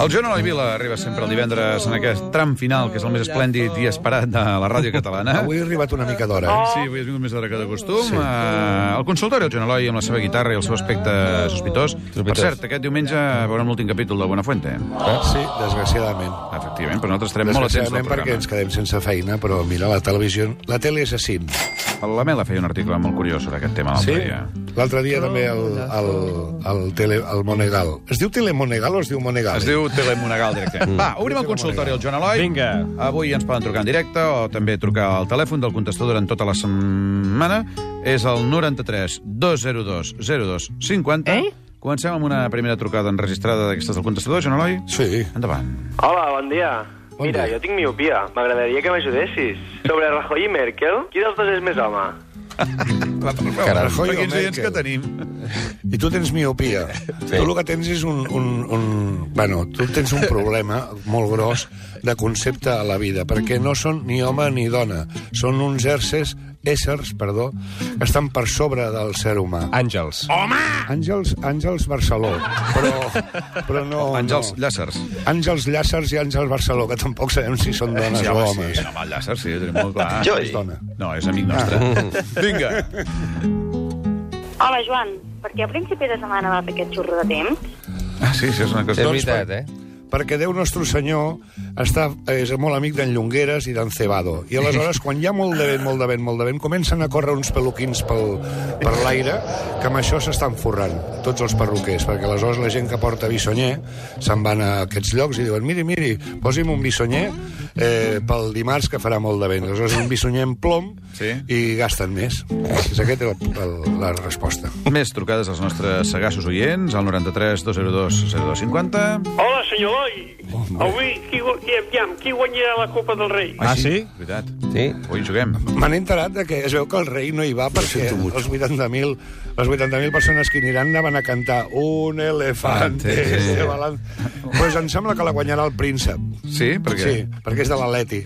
El Joan Eloi Vila arriba sempre el divendres en aquest tram final, que és el més esplèndid i esperat de la ràdio catalana. Avui he arribat una mica d'hora. Eh? Sí, avui has vingut més d'hora que de costum. Sí. Uh, el consultori, el Joan Eloi, amb la seva guitarra i el seu aspecte sospitós. Per cert, aquest diumenge veurem l'últim capítol de Buenafuente. Eh? Sí, desgraciadament. Efectivament, però nosaltres estarem molt atents al Desgraciadament perquè ens programa. quedem sense feina, però mira, la televisió... La tele és així. La Mela feia un article molt curiós sobre aquest tema l'altre dia. L'altre dia també el, el, el, tele, el Monegal. Es diu Telemonegal o es diu Monegal? Es diu Telemonegal directament. Mm. Va, obrim el consultori al Joan Eloi. Vinga. Avui ens poden trucar en directe o també trucar al telèfon del contestador durant tota la setmana. És el 93 202 02 50. Eh? Comencem amb una primera trucada enregistrada d'aquestes del contestador, Joan Eloi. Sí. Endavant. Hola, bon dia. Bon Mira, dia. jo tinc miopia. M'agradaria que m'ajudessis. Sobre Rajoy i Merkel, qui dels dos és més home? Va, per favor, Carajo, per jo, quins oients que Merkel. tenim. I tu tens miopia. Sí. Tu el que tens és un, un, un... Bueno, tu tens un problema molt gros de concepte a la vida, perquè no són ni home ni dona. Són uns éssers, éssers, perdó, que estan per sobre del ser humà. Àngels. Àngels, Àngels Barceló, però, però no... Àngels no. Llàcers. Àngels Llàcers i Àngels Barceló, que tampoc sabem si són dones o homes. Sí, eh? home, el Llàcer, sí, ho tenim molt clar. Jo hi. Dona. No, és amic nostre. Vinga. Hola, Joan. Per què a principi de setmana va fer aquest xurro de temps? Ah, sí, sí, és una cosa... És Doncs, veritat, eh? perquè Déu Nostre Senyor està, és molt amic d'en Llongueres i d'en Cebado. I aleshores, quan hi ha molt de vent, molt de vent, molt de vent, comencen a córrer uns peluquins pel, per l'aire, que amb això s'estan forrant, tots els perruquers, perquè aleshores la gent que porta bisonyer se'n van a aquests llocs i diuen, miri, miri, posi'm un bisonyer eh, pel dimarts que farà molt de vent. Aleshores, un bisonyer en plom Sí. i gasten més. És aquesta el, el, la resposta. Més trucades als nostres sagaços oients, al 93 202 0250. Hola, senyor Eloi. Avui, qui, gu- qui, aviam, qui guanyarà la Copa del Rei? Ah, sí? Veritat. Sí. Avui juguem. Me n'he enterat de que es veu que el rei no hi va perquè els 80.000 les 80.000 persones que hi aniran anaven a cantar un elefante. Sí, sí. de balan- Pues em sembla que la guanyarà el príncep. Sí? Perquè Sí, perquè és de l'Atleti.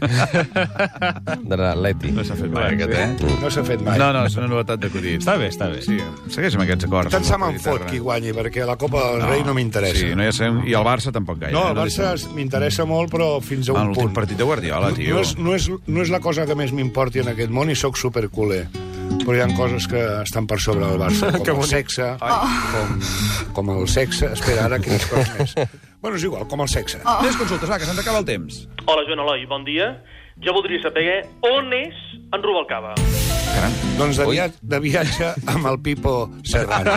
De l'Atleti. no s'ha fet mai aquest, eh? No s'ha fet mai. No, no, és una novetat d'acudit. Està bé, està bé. Sí, segueix amb aquests acords. Tant se amb la me'n fot guitarra. qui guanyi, perquè la Copa del Rei no m'interessa. Sí, no ja sabem... I el Barça tampoc gaire. No, eh? el Barça es- m'interessa molt, però fins a En un l'últim punt. partit de Guardiola, tio. No és, no, és, no és la cosa que més m'importi en aquest món i sóc superculer. Però hi ha coses que estan per sobre del Barça, com el sexe, com, com el sexe... Espera, ara quines coses més. Bueno, és igual, com el sexe. Més consultes, va, que se'ns acaba el temps. Hola, Joan Eloi, bon dia. Jo voldria saber on és en Rubalcaba. Doncs de, via de viatge amb el Pipo Serrano.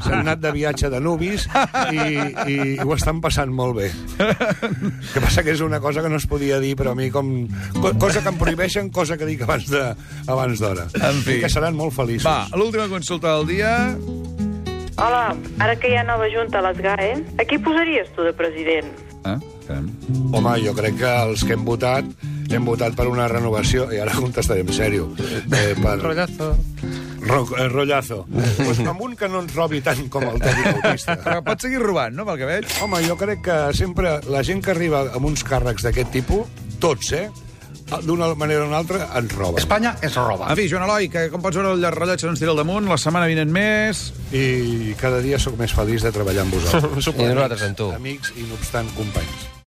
S'han anat de viatge de nubis i, i ho estan passant molt bé. El que passa que és una cosa que no es podia dir, però a mi com... co- Cosa que em prohibeixen, cosa que dic abans de- abans d'hora. En fi. I que seran molt feliços. Va, l'última consulta del dia... Hola, ara que hi ha nova junta a les GAE, a qui posaries tu de president? Ah, caram. Home, jo crec que els que hem votat hem votat per una renovació, i ara contestaré en sèrio, eh, per... Rollazo. Ro eh, rollazo. pues amb un que no ens robi tant com el Toni Bautista. Però pot seguir robant, no?, pel que veig. Home, jo crec que sempre la gent que arriba amb uns càrrecs d'aquest tipus, tots, eh, d'una manera o una altra, ens roben. Espanya és roba. En fi, Joan Eloi, que com pots veure el rellotge no ens tira al damunt, la setmana vinent més... I cada dia sóc més feliç de treballar amb vosaltres. I nosaltres amb tu. Amics i, no obstant, companys.